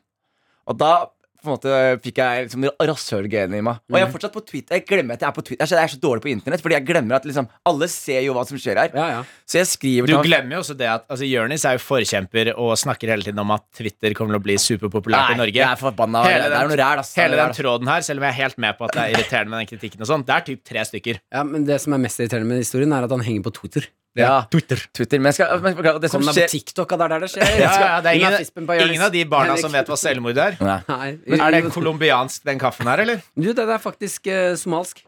Speaker 4: Og da på en måte fikk jeg liksom rasshølgenet i meg. Og jeg
Speaker 3: Mhm.
Speaker 4: er fortsatt på Twitter. Jeg glemmer at jeg er på Twitter. Jeg er så- Jeg er så dårlig på internett, fordi jeg glemmer at liksom alle ser jo hva som skjer her.
Speaker 3: Ja, ja.
Speaker 4: Så jeg skriver
Speaker 7: Du
Speaker 4: til han
Speaker 7: glemmer jo også det at altså, Jonis er jo forkjemper og snakker hele tiden om at Twitter kommer til å bli superpopulært i
Speaker 4: Nei,
Speaker 7: Norge.
Speaker 4: jeg er forbanna.
Speaker 7: Hele
Speaker 4: det er
Speaker 7: den-
Speaker 4: noe ræl, ass. Det er
Speaker 7: Hele
Speaker 4: noe
Speaker 7: den
Speaker 4: ræl.
Speaker 7: tråden her, selv om jeg er helt med på at det er irriterende med den kritikken og sånn, det er typ tre stykker.
Speaker 3: ja, men det som er mest irriterende med historien, er at han henger på Twitter.
Speaker 4: Ja,
Speaker 7: Twitter.
Speaker 4: Twitter. Men jeg skal, men, ok, det som
Speaker 3: Kom deg på
Speaker 4: skjer
Speaker 3: TikTok, det er der det skjer.
Speaker 7: Ja, ja, det er
Speaker 3: Hun
Speaker 7: ingen,
Speaker 3: fispen på Jonis.
Speaker 7: ingen av de barna som vet
Speaker 3: Henrik.
Speaker 7: hva selvmord er.
Speaker 4: Nei.
Speaker 3: Nei.
Speaker 7: Er det colombiansk, den kaffen her, eller?
Speaker 3: Du, det er faktisk eh, somalsk.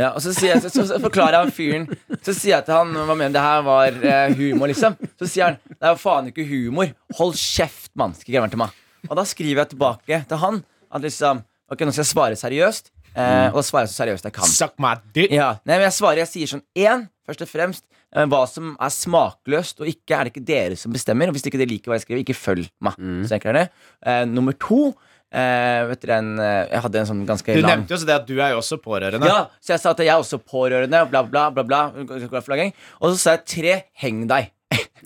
Speaker 4: Ja, og så, sier jeg, så, så, så forklarer jeg han fyren Så sier jeg til han Hva mener du? Det her var eh, humor liksom Så sier han Det er jo faen ikke humor Hold kjeft, mann Skriver han til meg Og da skriver jeg tilbake til han At liksom Ok, nå skal jeg svare seriøst
Speaker 3: Mm.
Speaker 4: eh, Og da svarer jeg så seriøst jeg kan
Speaker 7: Suck my dick.
Speaker 4: ja, nei, men jeg svarer, jeg sier sånn Én, først og fremst eh, Hva som er smakløst og ikke, er det ikke dere som bestemmer Og hvis ikke dere liker hva jeg skriver, ikke følg meg
Speaker 7: Mm.
Speaker 4: Så enkelt er det eh, Nummer to eh, Vet dere en eh, Jeg hadde en sånn ganske
Speaker 7: Du
Speaker 4: lang
Speaker 7: nevnte jo også det at du er jo også pårørende.
Speaker 4: ja, så jeg sa at jeg er også pårørende, bla, bla, bla. bla Og så sa jeg tre, heng deg.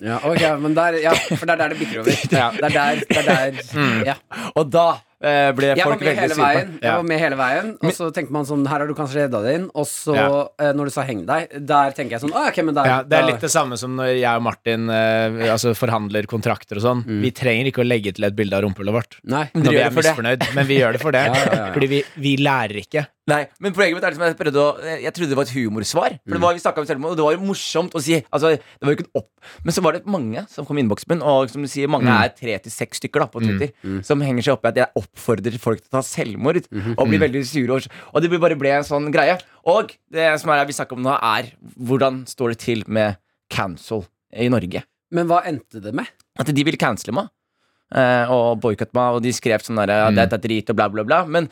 Speaker 3: Ja, ok, men der, ja, for det er der det bikker over.
Speaker 7: Ja. Mm.
Speaker 3: Det er der, det er der ja.
Speaker 4: Og da eh, ble
Speaker 3: Jeg var
Speaker 4: folk
Speaker 3: med
Speaker 4: veldig
Speaker 3: hele
Speaker 4: sure.
Speaker 3: veien,
Speaker 4: på meg.
Speaker 3: jeg var med hele veien og så tenkte man sånn Her har du kanskje redda deg inn. Og så,
Speaker 7: Ja.
Speaker 3: eh, når du sa 'heng deg', der tenker jeg sånn ah, ok, men der,
Speaker 7: Ja, Det er
Speaker 3: da-
Speaker 7: litt det samme som når jeg og Martin eh, altså forhandler kontrakter og sånn.
Speaker 4: Mm.
Speaker 7: Vi trenger ikke å legge til et bilde av rumpehullet vårt
Speaker 3: Nei.
Speaker 4: Dere
Speaker 7: når vi
Speaker 4: gjør
Speaker 7: er
Speaker 4: det for
Speaker 7: misfornøyd, men vi gjør det for det.
Speaker 3: Ja, ja, ja.
Speaker 7: Fordi vi, vi lærer ikke.
Speaker 4: Nei, men poenget mitt er liksom, jeg, prøvde å, jeg trodde det var et humorsvar. For det var, vi snakket om selvmord, og det var jo morsomt å si. Altså, det var jo ikke en opp. Men så var det mange som kom i innboksen min, og som du sier, mange er tre til seks stykker da, på Twitter, som henger seg opp i at jeg oppfordrer folk til å ta selvmord, og blir veldig sure. Og, og det bare ble en sånn greie. Og det som er, vi snakker om nå, er hvordan står det til med cancel i Norge.
Speaker 3: Men hva endte det med?
Speaker 8: At de ville cancele meg eh, og boikotte meg, og de skrev sånn derre Dette er drit, og bla, bla, bla. Men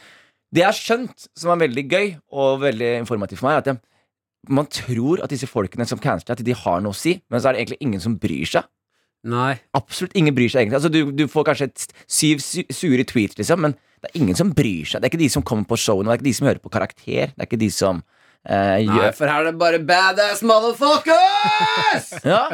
Speaker 8: det jeg har skjønt, som er veldig gøy og veldig informativt for meg, er at jeg, man tror at disse folkene som canceler, at de har noe å si, men så er det egentlig ingen som bryr seg.
Speaker 3: Nei.
Speaker 8: Absolutt ingen bryr seg egentlig. Altså, du, du får kanskje et syv sy- sure tweets, liksom, men det er ingen som bryr seg. Det er ikke de som kommer på showene, det er ikke de som hører på karakter. Det er ikke de som eh,
Speaker 3: Nei,
Speaker 8: gjør
Speaker 3: for her er det bare badass motherfuckers!
Speaker 8: ja.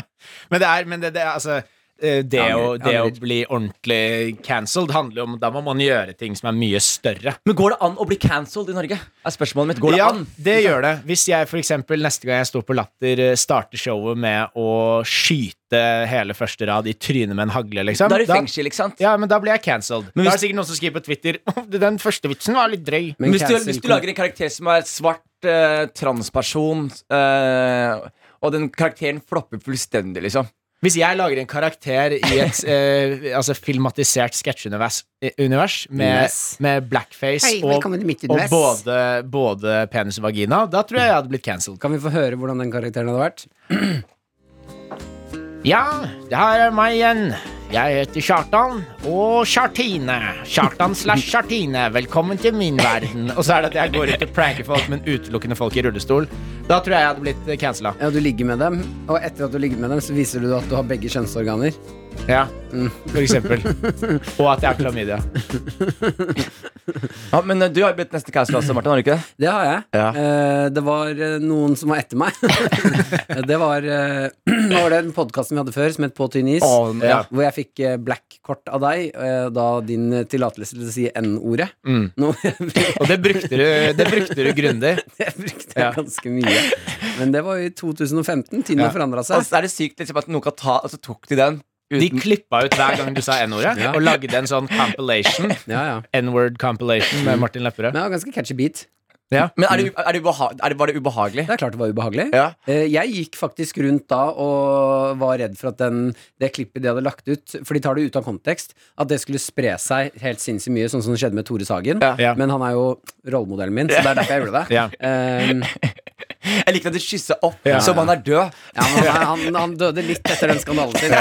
Speaker 7: Men det er, men det, det, er, altså eh, det,
Speaker 3: Angrer-
Speaker 7: å, det å
Speaker 3: angrer.
Speaker 7: bli ordentlig cancelled handler jo om Da må man gjøre ting som er mye større.
Speaker 8: Men går det an å bli cancelled i Norge? Er spørsmålet mitt. Går det
Speaker 7: ja,
Speaker 8: an?
Speaker 7: det gjør det. Hvis jeg for eksempel neste gang jeg står på Latter, eh, starter showet med å skyte hele første rad i trynet med en hagle, liksom
Speaker 8: Da er du i fengsel, ikke sant?
Speaker 7: Ja, men da blir jeg cancelled.
Speaker 8: Men
Speaker 7: da
Speaker 8: hvis-
Speaker 7: er det sikkert noen som skriver på Twitter «Åh, du, Den første vitsen var litt drøy.
Speaker 8: Men hvis, du,
Speaker 3: cancel-
Speaker 8: hvis du lager en karakter som er svart, eh, transperson, eh, og den karakteren flopper fullstendig, liksom
Speaker 7: Hvis jeg lager en karakter i et eh, altså filmatisert sketsjeunivers eh, univers med,
Speaker 3: Yes.
Speaker 7: med blackface
Speaker 3: Hei,
Speaker 7: og,
Speaker 3: velkommen til mitt
Speaker 7: og
Speaker 3: univers.
Speaker 7: både, både penis og vagina, da tror jeg jeg hadde blitt cancelled.
Speaker 3: Kan vi få høre hvordan den karakteren hadde vært?
Speaker 7: Ja, det her er meg igjen. Jeg heter Kjartan og Kjartine. Kjartan slash Kjartine, velkommen til min verden. Og så er det at jeg går ut og pranker folk, men utelukkende folk i rullestol. Da tror jeg jeg hadde blitt eh, cancella.
Speaker 3: Ja, du ligger med dem, og etter at du ligger med dem, så viser du at du har begge kjønnsorganer.
Speaker 7: Ja,
Speaker 3: Mm.
Speaker 7: for eksempel. Og at jeg har klamydia.
Speaker 8: Ja, Men eh, du har jo blitt neste cancel også, Martin. har du ikke det?
Speaker 3: Det har jeg.
Speaker 8: Ja.
Speaker 3: Eh, det var eh, noen som var etter meg. det var eh, Hva var det den podkasten vi hadde før, som het På tynn is?
Speaker 8: Å, ja.
Speaker 3: Hvor jeg fikk eh, black-kort av deg, eh, da din eh, tillatelse til å si N-ordet. Nå
Speaker 7: Og det brukte du, det brukte du grundig.
Speaker 3: det brukte jeg ganske mye. Men det var jo i 2015. Tiden har forandra
Speaker 8: Og
Speaker 3: seg.
Speaker 8: så er det sykt liksom, at noen kan ta Og så tok de den.
Speaker 7: De
Speaker 8: Uten,
Speaker 7: klippa ut hver gang du sa N-ordet,
Speaker 3: Ja.
Speaker 7: og lagde en sånn compilation.
Speaker 3: Ja, ja.
Speaker 7: N-word compilation med Martin
Speaker 3: Men
Speaker 7: Lepperød.
Speaker 3: det var ganske catchy beat.
Speaker 8: men er det, er det ubeha er det, var det ubehagelig?
Speaker 3: Det er klart det var ubehagelig.
Speaker 8: Ja.
Speaker 3: Eh, Jeg gikk faktisk rundt da og var redd for at den, det klippet de hadde lagt ut, for de tar det ut av kontekst, at det skulle spre seg helt sinnssykt mye, sånn som det skjedde med Tore Sagen.
Speaker 8: Ja.
Speaker 7: Ja.
Speaker 3: Men han er jo rollemodellen min, så det er derfor jeg gjorde det.
Speaker 7: Ja.
Speaker 3: Ehm,
Speaker 8: Jeg likte at du kyssa opp
Speaker 7: Ja.
Speaker 8: som han er død.
Speaker 3: ja, men han, han, han døde litt etter den skandalen sin.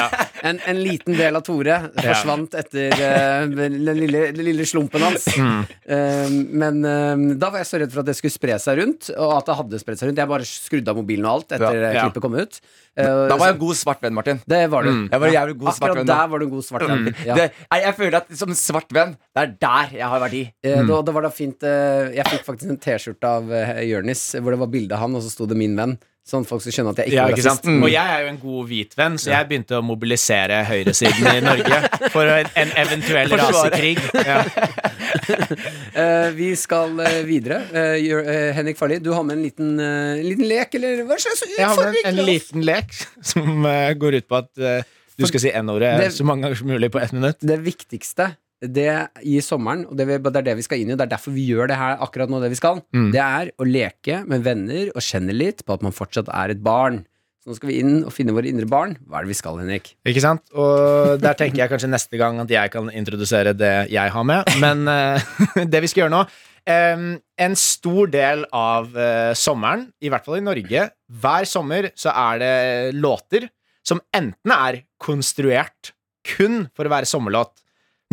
Speaker 3: En, en liten del av Tore forsvant etter eh, den lille, den lille slumpen hans.
Speaker 8: Mm.
Speaker 3: Ehm, men ehm, da var jeg så redd for at det skulle spre seg rundt, og at det hadde spredt seg rundt. Jeg bare skrudde av mobilen og alt etter
Speaker 8: Ja,
Speaker 7: ja.
Speaker 3: klippet kom ut. Eh,
Speaker 8: Da var jeg en god svart venn, Martin.
Speaker 3: Det var du.
Speaker 8: Jeg var en jævlig god svart
Speaker 3: Akkurat
Speaker 8: venn. da. Mm.
Speaker 3: der var du en god svart venn. Ja.
Speaker 8: Det, jeg, jeg føler at som svart venn, det er der jeg har verdi.
Speaker 3: Eh, da, da var det fint eh, Jeg fikk faktisk en T-skjorte av eh, Jørnis hvor det var bilde av han, og så sto det 'min venn'. Sånn folk skal skjønne at jeg ikke
Speaker 7: Ja,
Speaker 3: var
Speaker 7: ikke sant? Mm.
Speaker 8: Mm.
Speaker 3: rasist.
Speaker 7: Og jeg er jo en god hvitvenn, så jeg begynte å mobilisere høyresiden i Norge for en, en eventuell
Speaker 8: Forsvare.
Speaker 7: rasekrig. Ja.
Speaker 3: Eh, vi skal eh, videre. Eh, Jør- eh, Henrik Farli, du har med en liten, eh, en liten lek, eller hva slags
Speaker 7: Jeg har med
Speaker 3: utfordring?
Speaker 7: en, en liten lek som eh, går ut på at eh, du skal si N-ordet
Speaker 3: Det-
Speaker 7: så mange ganger som mulig på ett minutt.
Speaker 3: Det viktigste det i sommeren, og det, vi- det er det vi skal inn i, og det er derfor vi gjør det her akkurat nå, det vi skal,
Speaker 7: Mm.
Speaker 3: det er å leke med venner og kjenne litt på at man fortsatt er et barn. Så nå skal vi inn og finne våre indre barn. Hva er det vi skal, Henrik?
Speaker 7: Ikke sant? Og der tenker jeg kanskje neste gang at jeg kan introdusere det jeg har med. Men eh, det vi skal gjøre nå em, En stor del av eh, sommeren, i hvert fall i Norge, hver sommer så er det låter som enten er konstruert kun for å være sommerlåt.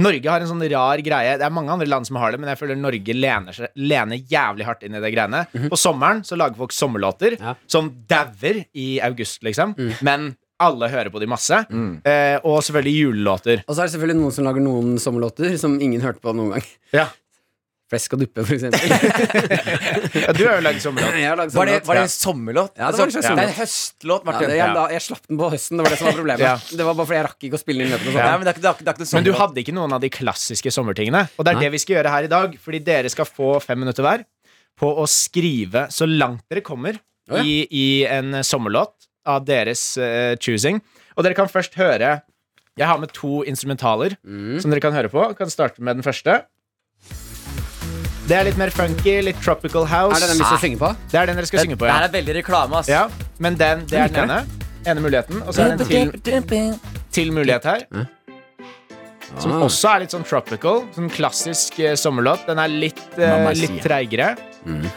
Speaker 7: Norge har en sånn rar greie. Det er mange andre land som har det, men jeg føler Norge lener, seg, lener jævlig hardt inn i det greiene. På sommeren så lager folk sommerlåter
Speaker 3: Ja.
Speaker 7: som dauer i august, liksom. Men alle hører på de masse. Eh, og selvfølgelig julelåter.
Speaker 3: Og så er det selvfølgelig noen som lager noen sommerlåter som ingen hørte på noen gang.
Speaker 7: Ja.
Speaker 3: Flesk og duppe, for eksempel.
Speaker 7: Ja, du har jo lagd sommerlåt.
Speaker 3: Jeg har laget
Speaker 8: Var det,
Speaker 3: sommerlåt.
Speaker 8: var det en sommerlåt?
Speaker 3: Ja, det var en
Speaker 8: Altså,
Speaker 3: slags
Speaker 8: det er en høstlåt,
Speaker 3: Ja,
Speaker 8: Martin.
Speaker 3: det, jeg, la, jeg slapp den på høsten, det var det som var problemet.
Speaker 7: Ja.
Speaker 3: Det var bare fordi jeg rakk ikke å spille den inn løpende.
Speaker 8: Nei,
Speaker 3: Ja.
Speaker 8: men det er ikke, det er ikke, det er ikke
Speaker 7: Men du
Speaker 8: noe sommerlåt.
Speaker 7: hadde ikke noen av de klassiske sommertingene. Og det er
Speaker 3: Nei.
Speaker 7: det vi skal gjøre her i dag, fordi dere skal få fem minutter hver på å skrive så langt dere kommer
Speaker 3: Å, ja.
Speaker 7: i, i en sommerlåt av deres eh, choosing. Og dere kan først høre Jeg har med to instrumentaler
Speaker 3: Mm.
Speaker 7: som dere kan høre på. Kan starte med den første. Det er litt mer funky, litt tropical house.
Speaker 3: Er det den vi skal synge på?
Speaker 7: Det er den dere skal synge på,
Speaker 8: Det her
Speaker 7: ja.
Speaker 8: er veldig reklame, ass.
Speaker 7: ja men den, det er den ene. Ene muligheten. Og så er det en til til mulighet her. Som
Speaker 3: Ah.
Speaker 7: også er litt sånn tropical. Sånn klassisk eh, sommerlåt. Den er litt, eh,
Speaker 8: Mamma
Speaker 7: litt
Speaker 8: Mia.
Speaker 7: treigere.
Speaker 3: Mm.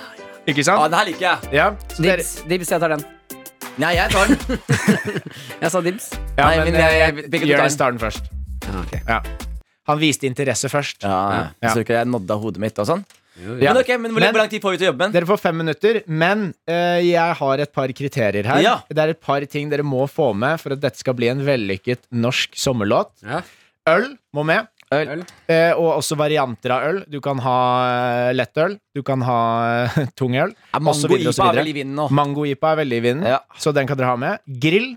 Speaker 7: Ikke
Speaker 8: Ja,
Speaker 7: sant?
Speaker 8: det her liker jeg.
Speaker 7: Ja. Så dere,
Speaker 3: Dibs, Dibs, jeg tar den.
Speaker 8: Nei, jeg tar den.
Speaker 3: Jeg sa dibs.
Speaker 7: Ja,
Speaker 8: Nei,
Speaker 7: men,
Speaker 8: men jeg-
Speaker 7: eh,
Speaker 8: jeg- hvilket du tar?
Speaker 7: Jonis tar den først.
Speaker 3: Ja, ok.
Speaker 7: Ja. Han viste interesse først.
Speaker 8: Ja,
Speaker 7: Ja.
Speaker 8: Så ikke jeg nodda hodet mitt og sånn?
Speaker 7: Ja.
Speaker 8: Men ok, men hvor,
Speaker 7: Men-
Speaker 8: hvor lang tid får vi til å jobbe med den?
Speaker 7: Dere får fem minutter, men eh, jeg har et par kriterier her.
Speaker 8: Ja.
Speaker 7: Det er et par ting dere må få med for at dette skal bli en vellykket norsk sommerlåt.
Speaker 3: Ja.
Speaker 7: Øl må med.
Speaker 8: Øl.
Speaker 3: Øl.
Speaker 7: Eh, og også varianter av øl. Du kan ha eh, lettøl, du kan ha eh, tung øl.
Speaker 8: Ja,
Speaker 7: og så
Speaker 8: Mango
Speaker 7: videre, og så
Speaker 8: Ipa er
Speaker 7: videre.
Speaker 8: vel i vinden nå.
Speaker 7: Mango-jipa er veldig i vinden,
Speaker 8: Ja.
Speaker 7: så den kan dere ha med. Grill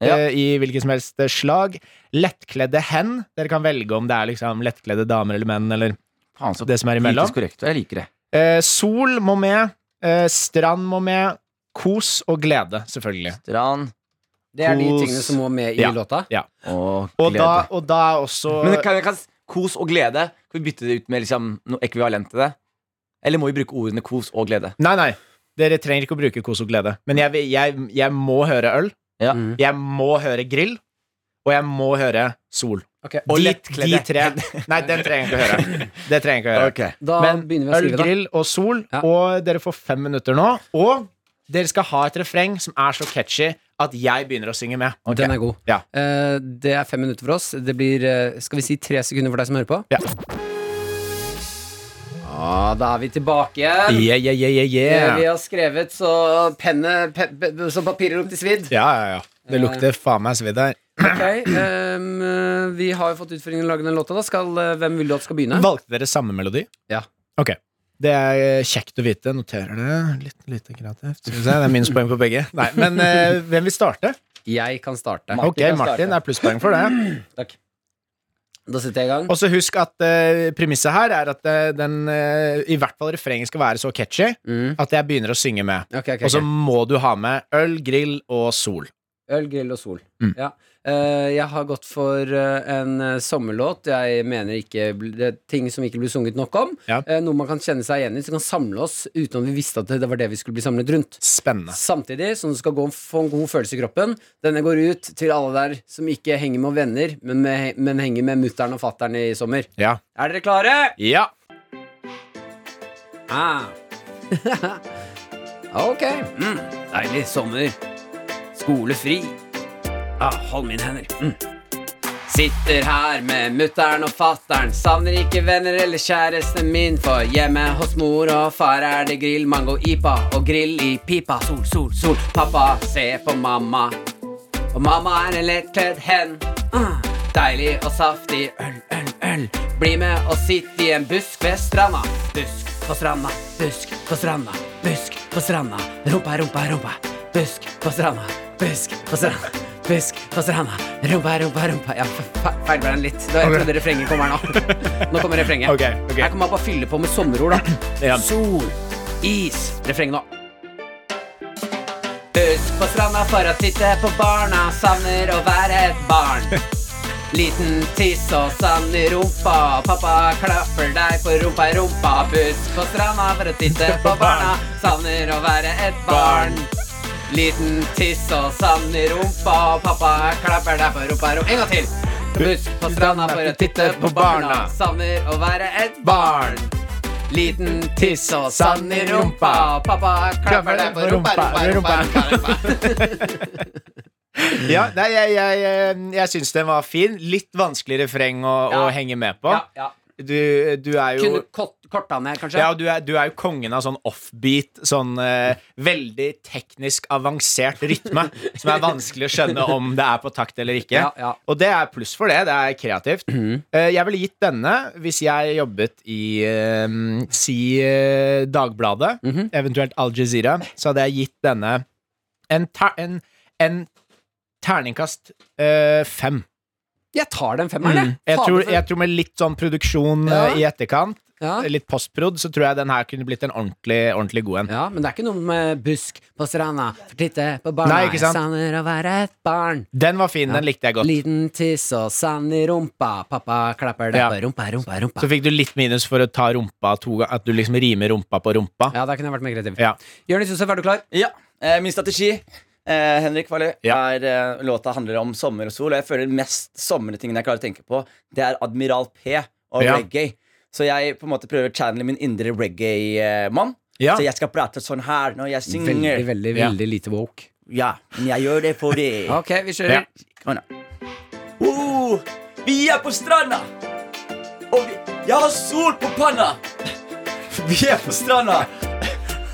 Speaker 8: Ja.
Speaker 7: eh, i hvilket som helst eh, slag. Lettkledde hen. Dere kan velge om det er liksom lettkledde damer eller menn eller
Speaker 8: Faen, så
Speaker 7: det som er imellom.
Speaker 8: politisk korrekt. og Jeg liker det.
Speaker 7: Eh, sol må med. Eh, strand må med. Kos og glede, selvfølgelig.
Speaker 8: Dran
Speaker 3: Det er de
Speaker 7: Kos.
Speaker 3: tingene som må med i
Speaker 7: Ja.
Speaker 3: låta.
Speaker 8: og glede.
Speaker 7: Og da, og da er også
Speaker 8: Men kan, kan kos og glede Kan vi bytte det ut med liksom, noe ekvivalent til det? Eller må vi bruke ordene kos og glede?
Speaker 7: Nei, nei. Dere trenger ikke å bruke kos og glede. Men jeg, vil- jeg, jeg må høre øl.
Speaker 8: Ja.
Speaker 3: Mm.
Speaker 7: Jeg må høre grill. Og jeg må høre sol.
Speaker 3: Ok.
Speaker 8: Og
Speaker 7: de,
Speaker 8: lettkledde.
Speaker 7: de tre. Nei, den trenger jeg ikke å høre. Det trenger jeg ikke å høre.
Speaker 3: Da
Speaker 7: Men
Speaker 3: begynner vi å
Speaker 7: øl,
Speaker 3: skrive, da.
Speaker 7: grill og sol,
Speaker 3: Ja.
Speaker 7: og dere får fem minutter nå. Og dere skal ha et refreng som er så catchy at jeg begynner å synge med.
Speaker 3: Den er god.
Speaker 7: Ja.
Speaker 3: Eh, det er fem minutter for oss. Det blir eh, skal vi si tre sekunder for deg som hører på.
Speaker 7: Ja.
Speaker 3: Ja, da er vi tilbake igjen.
Speaker 7: Yeah, yeah, yeah, yeah,
Speaker 3: Eh,
Speaker 7: yeah.
Speaker 3: Vi har skrevet så penne pe, pe, Så papiret lukter svidd.
Speaker 7: Ja, ja, ja. Det lukter faen meg svidd her.
Speaker 3: Ok, ehm, eh, vi har jo fått utfordringen å lage den låta. Da. Skal, eh, hvem vil du at skal begynne?
Speaker 7: Valgte dere samme melodi?
Speaker 3: Ja.
Speaker 7: Ok. Det er eh, kjekt å vite. Noterer det. Litt lite kreativt. Skal vi se, det er minuspoeng på begge. Nei, men eh, hvem vil starte?
Speaker 3: Jeg kan starte.
Speaker 8: Martin
Speaker 7: Ok,
Speaker 8: kan
Speaker 7: Martin
Speaker 8: starte.
Speaker 7: er plusspoeng for det.
Speaker 3: Da setter jeg i gang.
Speaker 7: Og så husk at eh, premisset her er at eh, den eh, I hvert fall refrenget skal være så catchy
Speaker 3: Mm.
Speaker 7: at jeg begynner å synge med.
Speaker 3: Ok, ok,
Speaker 7: Og så
Speaker 3: ok.
Speaker 7: må du ha med øl, grill og sol.
Speaker 3: Øl, grill og sol.
Speaker 7: Mm.
Speaker 3: Ja. Eh, jeg har gått for eh, en eh, sommerlåt jeg mener ikke bl- det er ting som ikke blir sunget nok om.
Speaker 7: Ja.
Speaker 3: Eh, noe man kan kjenne seg igjen i, som kan samle oss uten at vi visste at det det var det vi skulle bli samlet rundt.
Speaker 7: Spennende.
Speaker 3: Samtidig som du skal gå og få en god følelse i kroppen. Denne går ut til alle der som ikke henger med venner, men, med, men henger med mutter'n og fatter'n i sommer.
Speaker 7: Ja.
Speaker 3: Er dere klare?
Speaker 7: ja.
Speaker 3: Ah. ok. Mm. Deilig sommer. Skolefri. Ah, hold mine hender. Mm. Sitter her med mutter'n og fatter'n. Savner ikke venner eller kjæresten min, for hjemme hos mor og far er det grill, mango, ipa og grill i pipa. Sol, sol, sol. Pappa, se på mamma. Og mamma er en lettkledd hen. Ah, deilig og saftig øl, øl, øl. Bli med og sitt i en busk ved stranda. Busk på stranda, busk på stranda, busk på stranda. Rumpa, rumpa, rumpa. Busk på stranda, busk på stranda. Busk på stranda. Rumpa, rumpa, rumpa. Ja, fe- fe- feilbar den litt. Da, jeg trodde refrenget kommer nå. Nå kommer refrenget.
Speaker 7: Ok, ok.
Speaker 3: Her kan man bare fylle på med sommerord, da.
Speaker 7: Ja.
Speaker 3: Sol, is. Refrenget nå. Busk på stranda for å titte på barna Savner å være et barn Liten tiss og sand i rumpa Pappa klapper deg på rumpa i rumpa Busk på stranda for å titte på barna Savner å være et barn Liten tiss og sand i rumpa Pappa klapper deg på rumpa i rumpa En gang til Busk på stranda for å titte på barna Savner å være et barn Liten tiss og sand i rumpa Pappa klapper deg på rumpa, rumpa, rumpa, rumpa, rumpa.
Speaker 7: Ja, nei, jeg, jeg, jeg, jeg syns den var fin. Litt vanskelig refreng å, å
Speaker 3: Ja.
Speaker 7: henge med på.
Speaker 3: Ja, ja.
Speaker 7: Du, du er jo
Speaker 3: Kunne kort, korta ned, kanskje?
Speaker 7: ja, og du, er, du er jo kongen av sånn offbeat, sånn eh, veldig teknisk avansert rytme som er vanskelig å skjønne om det er på takt eller ikke.
Speaker 3: Ja, Mhm. ja.
Speaker 7: Og det er pluss for det. Det er kreativt. Eh, jeg ville gitt denne hvis jeg jobbet i eh, si eh, Dagbladet,
Speaker 3: Mhm.
Speaker 7: eventuelt Al Jazeera, så hadde jeg gitt denne en, ter en, en terningkast eh, fem.
Speaker 3: Jeg tar den femmeren,
Speaker 7: Mm. Jeg, tror, jeg tror med litt sånn produksjon
Speaker 3: Ja.
Speaker 7: eh, i etterkant,
Speaker 3: Ja.
Speaker 7: litt postprod, så tror jeg den her kunne blitt en ordentlig, ordentlig god en.
Speaker 3: ja, men det er ikke noe med busk på stranda, for titte på barna,
Speaker 7: Nei, ikke sant?
Speaker 3: jeg savner å være et barn.
Speaker 7: Den var fin, den likte jeg godt.
Speaker 3: Liten tiss og sand i rumpa, pappa klapper deg
Speaker 7: Ja.
Speaker 3: på rumpa, rumpa, rumpa.
Speaker 7: Så fikk du litt minus for å ta rumpa to ganger, at du liksom rimer rumpa på rumpa.
Speaker 3: Ja, der kunne jeg vært mer kreativ.
Speaker 7: Ja.
Speaker 3: Jonis Josef, er du klar?
Speaker 8: Ja, eh, min strategi eh, Henrik Farley
Speaker 7: Ja.
Speaker 8: er, eh, Låta handler om sommer og sol Og jeg føler mest sommertingen jeg klarer å tenke på Det er Admiral P og
Speaker 7: Ja.
Speaker 8: reggae Så jeg på en måte prøver å channele min indre reggae-mann
Speaker 7: Ja.
Speaker 8: Så jeg skal prate sånn her når jeg synger
Speaker 3: Veldig, veldig,
Speaker 7: Ja.
Speaker 3: veldig lite woke.
Speaker 8: Ja, men jeg gjør det fordi
Speaker 3: Ok, vi kjører.
Speaker 4: Å, nei. Oh, vi er på stranda! Og vi, jeg har sol på panna! Vi er på stranda,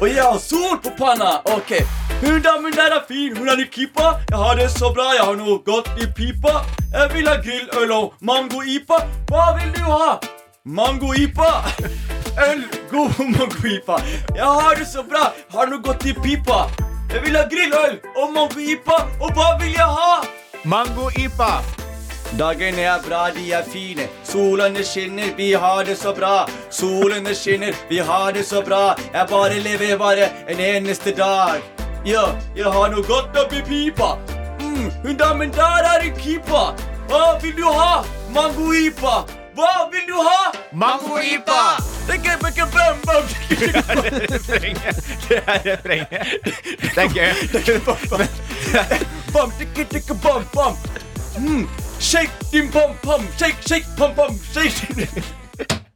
Speaker 4: og jeg har sol på panna. Ok. Hun damen der er fin, hun er ny keeper. Jeg har det så bra, jeg har noe godt i pipa. Jeg vil ha grilløl og mango-ipa. Hva vil du ha? Mango-ipa. Øl, god mango-ipa. Jeg har det så bra, jeg har noe godt i pipa. Jeg vil ha grilløl og mango-ipa, og hva vil jeg ha?
Speaker 7: Mango-ipa!
Speaker 4: Dagene er bra, de er fine. Solene skinner, vi har det så bra. Solene skinner, vi har det så bra. Jeg bare lever bare en eneste dag. Ja, jeg har noe godt oppi pipa. Mm, hun damen der er en keeper. Hva vil du ha? Mango-ipa. Hva vil du ha?
Speaker 7: Mango-ipa!
Speaker 4: Det er gøy, bøkke, bøm, bøm.
Speaker 7: Refrenget. Det er refrenget. Det er gøy.
Speaker 4: Bam, tikki, tikki, bam, bam. Mm, shake din bam, bam. Shake, shake, bam, bam. Shake.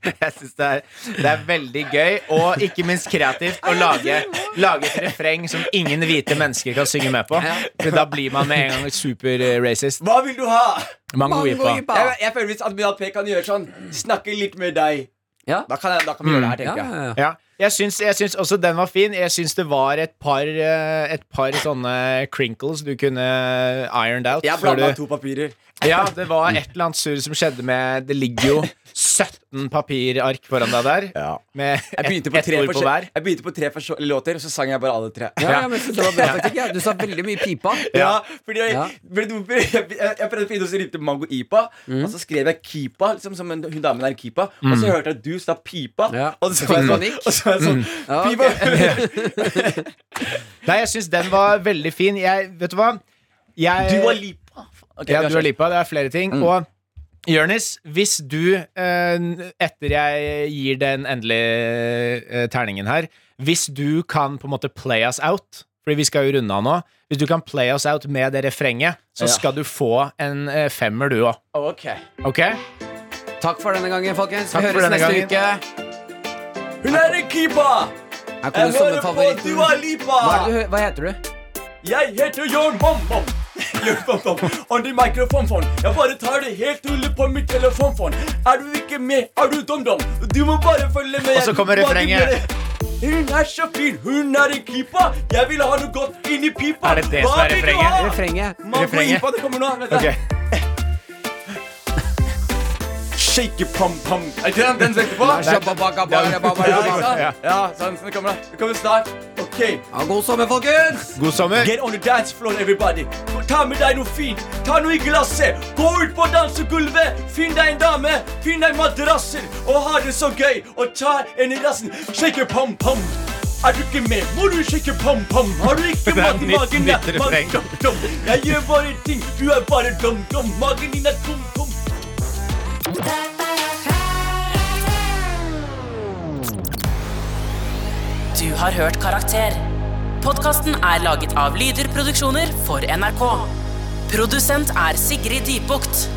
Speaker 7: Jeg synes det, er- det er veldig gøy, og ikke minst kreativt, å lage, lage et refreng som ingen hvite mennesker kan synge med på. For da blir man med en gang eh, super-racist.
Speaker 4: Hva vil du ha?
Speaker 7: Mango-ipa.
Speaker 4: Jeg, jeg føler hvis Admiral P kan gjøre sånn Snakke litt med deg
Speaker 3: Ja.
Speaker 4: Da kan, jeg, da kan vi gjøre det her,
Speaker 3: Ja,
Speaker 4: tenker
Speaker 3: Mm. ja, ja.
Speaker 7: Ja. Jeg syns, jeg syns også den var fin. Jeg syns det var et par, eh, et par sånne crinkles du kunne eh, ironed out.
Speaker 4: jeg Jeg
Speaker 7: før
Speaker 4: blanda
Speaker 7: du,
Speaker 4: to papirer
Speaker 7: ja, det var et eller annet surr som skjedde med Det ligger jo 17 papirark foran deg der. Med
Speaker 4: Jeg
Speaker 7: ett
Speaker 4: begynte på
Speaker 7: ett
Speaker 4: tre,
Speaker 7: ord på
Speaker 4: forskjell-
Speaker 7: hver.
Speaker 4: jeg begynte på tre forskjell- låter Og så sang jeg bare alle tre
Speaker 3: Ja, ja, men så det var bra taktikk. Ja. Du sa veldig mye pipa.
Speaker 4: Ja, fordi jeg,
Speaker 3: Ja.
Speaker 4: fordi du- fordi jeg, jeg, jeg prøvde å finne noe som rimte Mango Ipa
Speaker 3: Mm.
Speaker 4: Og så skrev jeg Kipa Liksom som en, hun damen der Kipa Og så hørte jeg at du sa Pipa
Speaker 3: Ja.
Speaker 4: Og så var jeg sånn,
Speaker 3: Finkonikk.
Speaker 4: og så var jeg sånn
Speaker 3: Ja, ok.
Speaker 4: Pipa
Speaker 7: Nei, jeg syns den var veldig fin. Jeg, vet du hva? Jeg,
Speaker 4: Du var Lipa Ok, Mm.
Speaker 7: Ja,
Speaker 4: vi har
Speaker 7: Dua
Speaker 4: skjønt.
Speaker 7: Lipa. Det er flere ting. Og Jonis, hvis du, eh, etter jeg gir den endelige eh, terningen her Hvis du kan på en måte play us out, fordi vi skal jo runde av nå Hvis du kan play us out med det refrenget, så
Speaker 4: Ja.
Speaker 7: skal du få en eh, femmer, du òg.
Speaker 4: Ok
Speaker 7: Ok?
Speaker 3: Takk for denne gangen, folkens. Vi
Speaker 7: Takk for
Speaker 3: høres
Speaker 7: denne
Speaker 3: neste
Speaker 7: gangen.
Speaker 3: uke.
Speaker 4: Hun er en Kipa
Speaker 3: Her kommer
Speaker 4: Jeg hører på
Speaker 3: sommerfavoritten.
Speaker 4: Dua Lipa
Speaker 3: Hva, er det du hø- hva heter du?
Speaker 4: Jeg heter Jørn Bom-Bom. Jørn Bom-Bom. On the microphone-phone. Jeg bare tar det helt rolig på mitt telefonfon. Er du ikke med, er du dum-dum. Du må bare følge med.
Speaker 7: Og så kommer
Speaker 4: Bare
Speaker 7: refrenget.
Speaker 4: med. Hun er så fin, hun er en keeper. Jeg vil ha noe godt inni pipa.
Speaker 7: Er det det som er
Speaker 4: vil du
Speaker 7: refrenget?
Speaker 4: ha?
Speaker 3: Refrenget.
Speaker 4: Mango
Speaker 7: Refrenget.
Speaker 4: Ipa, det kommer nå. Vent da.
Speaker 7: Ok.
Speaker 4: Shake pom-pom. Er ikke den den søkte på? Ja, ikke sant?
Speaker 7: Ja.
Speaker 4: Ja, sånn, sånn kommer det. Det kommer snart. Ok.
Speaker 3: Ha god sommer, folkens!
Speaker 7: God sommer.
Speaker 4: Get on the dance floor, everybody. Ta med deg noe fint. Ta noe i glasset. Gå ut på dansegulvet. Finn deg en dame. Finn deg madrasser. Og ha det så gøy. Og ta en i rassen. Shake pom-pom. Er du ikke med, må du shake pom-pom. Har du ikke
Speaker 7: Det er
Speaker 4: mat i
Speaker 7: nytt-
Speaker 4: magen?
Speaker 7: nytt
Speaker 4: Ja, mag-
Speaker 7: refreng.
Speaker 4: dum, dum. Jeg gjør bare ting. Du er bare dum-dum. Magen din er tom-tom.
Speaker 2: Du har hørt Karakter. Podkasten er laget av Lyder Produksjoner for NRK. Produsent er Sigrid Dybukt.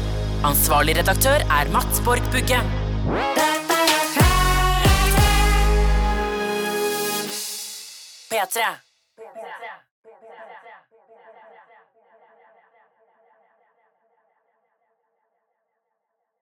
Speaker 2: Ansvarlig redaktør er Mats Borg Bugge. P3.